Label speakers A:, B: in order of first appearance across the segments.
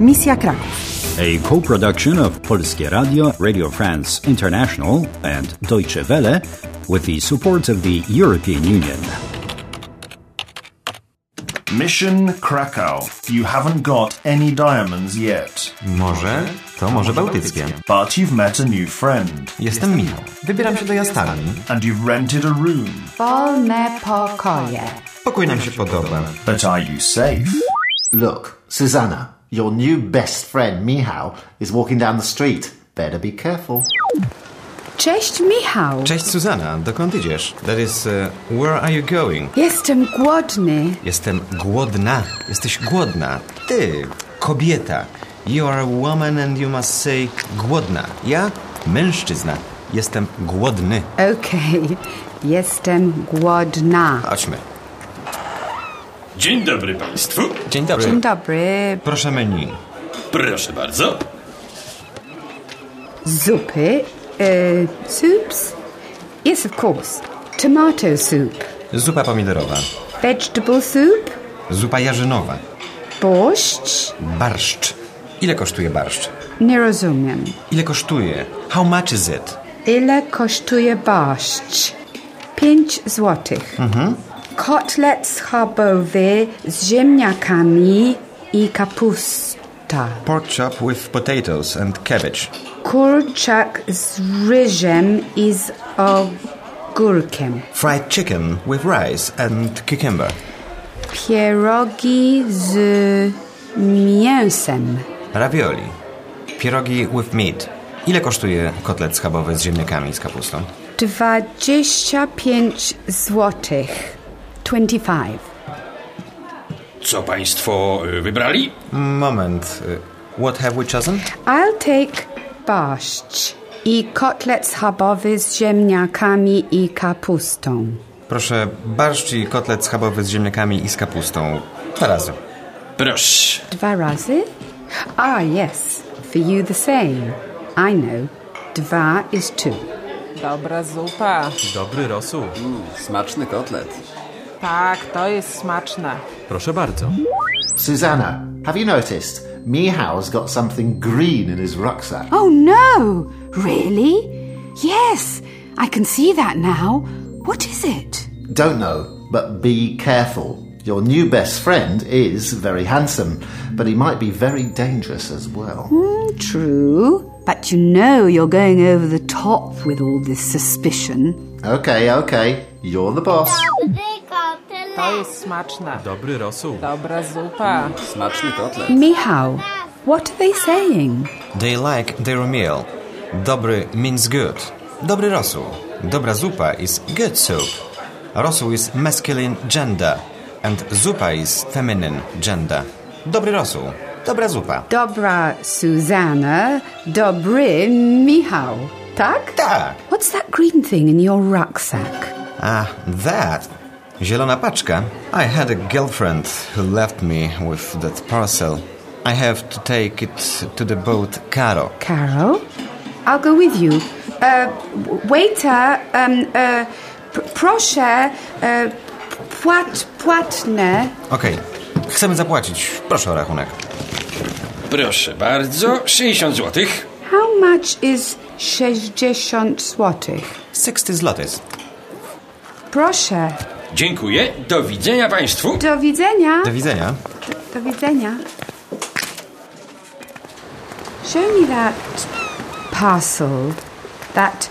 A: Misja Kraków.
B: A co-production of Polskie Radio, Radio France International and Deutsche Welle with the support of the European Union.
C: Mission Krakow. You haven't got any diamonds yet,
D: Morze to Morze Bałtyckie.
C: but you've met a new friend,
D: Jestem Michał. Wybieram się do Jastarni.
C: and you've rented a room.
E: Wolne pokoje.
D: Pokój nam się podoba.
C: But are you safe?
F: Look, Susanna, your new best friend, Mihao, is walking down the street. Better be careful.
E: Cześć Michał.
D: Cześć Suzana, dokąd idziesz? That is, e, where are you going?
E: Jestem głodny.
D: Jestem głodna. Jesteś głodna. Ty, kobieta. You are a woman and you must say głodna. Ja, mężczyzna. Jestem głodny.
E: Okej. Jestem głodna.
D: Chodźmy.
G: Dzień dobry Państwu.
D: Dzień dobry.
E: Dzień dobry.
D: Proszę menu.
G: Proszę bardzo.
E: Zupy. Uh, soups? Yes, of course. Tomato soup.
D: Zupa pomidorowa.
E: Vegetable soup.
D: Zupa jarzynowa.
E: Borscht.
D: Barszcz. Ile kosztuje barszcz?
E: Nie rozumiem.
D: Ile kosztuje? How much is it?
E: Ile kosztuje barszcz? 5 złotych. Kotlet schabowy z ziemniakami i kapusta.
D: Pork chop with potatoes and cabbage.
E: Kurczak z ryżem i z ogórkiem.
D: Fried chicken with rice and cucumber.
E: Pierogi z mięsem.
D: Ravioli. Pierogi with meat. Ile kosztuje kotlet schabowy z ziemniakami i z kapustą?
E: 25 złotych. 25.
G: Co Państwo y, wybrali?
D: Moment. y, What have we chosen?
E: I'll take barszcz i kotlet schabowy z ziemniakami i kapustą.
D: Proszę, barszcz i kotlet schabowy z ziemniakami i z kapustą. Dwa razy.
G: Proszę.
E: Dwa razy? Ah, yes. For you the same. I know. Dwa is two.
H: Dobra zupa.
I: Dobry rosół.
J: Mm, Smaczny kotlet.
H: Tak, to jest smaczne.
I: Proszę bardzo.
F: Susanna, have you noticed? Mihao's got something green in his rucksack.
E: Oh, no! Really? Yes, I can see that now. What is it?
F: Don't know, but be careful. Your new best friend is very handsome, but he might be very dangerous as well.
E: True, but you know you're going over the top with all this suspicion.
F: Okay, okay, you're the boss.
H: To jest smaczne.
I: Dobry rosół.
H: Dobra zupa.
J: Smaczny kotlet.
E: Mihao, what are they saying?
D: They like their meal. Dobry means good. Dobry rosół. Dobra zupa is good soup. Rosół is masculine gender and zupa is feminine gender. Dobry rosół. Dobra zupa.
E: Dobra Susanna, dobry Mihao. Tak?
D: Tak.
E: What's that green thing in your rucksack?
D: Ah, that. Zielona paczka. I had a girlfriend who left me with that parcel. I have to take it to the boat Caro.
E: Carol, I'll go with you. Uh, w- waiter, um, uh, pr- proszę, uh, płat, płatne.
D: Okej. Chcemy zapłacić. Proszę o rachunek.
G: Proszę bardzo. 60 zł.
E: How much is 60 złotych?
D: 60 zlotys.
E: Proszę.
G: Dziękuję. Do widzenia Państwu.
E: Do widzenia.
D: Do widzenia.
E: Do widzenia. Show me that parcel, that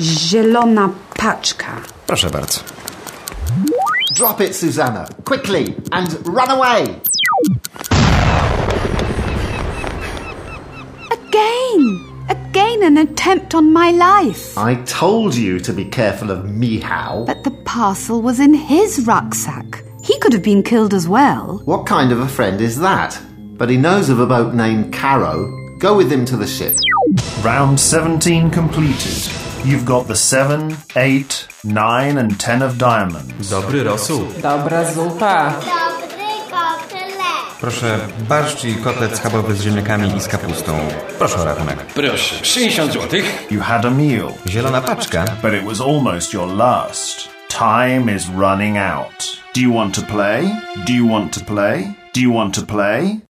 E: zielona paczka.
D: Proszę bardzo.
F: Drop it, Susanna, quickly, and run away!
E: Again! Again, an attempt on my life.
F: I told you to be careful of Mihao.
E: But the parcel was in his rucksack. He could have been killed as well.
F: What kind of a friend is that? But he knows of a boat named Caro. Go with him to the ship.
C: Round 17 completed. You've got the 7, 8, 9, and 10 of diamonds.
I: Dobry rosół.
H: Dobra zupa.
D: Proszę, barszcz i kotlet schabowy z ziemniakami i z kapustą. Proszę o rachunek.
G: Proszę. 60 zł.
C: You had a meal,
D: Zielona paczka.
C: but it was almost your last. Time is running out. Do you want to play? Do you want to play? Do you want to play?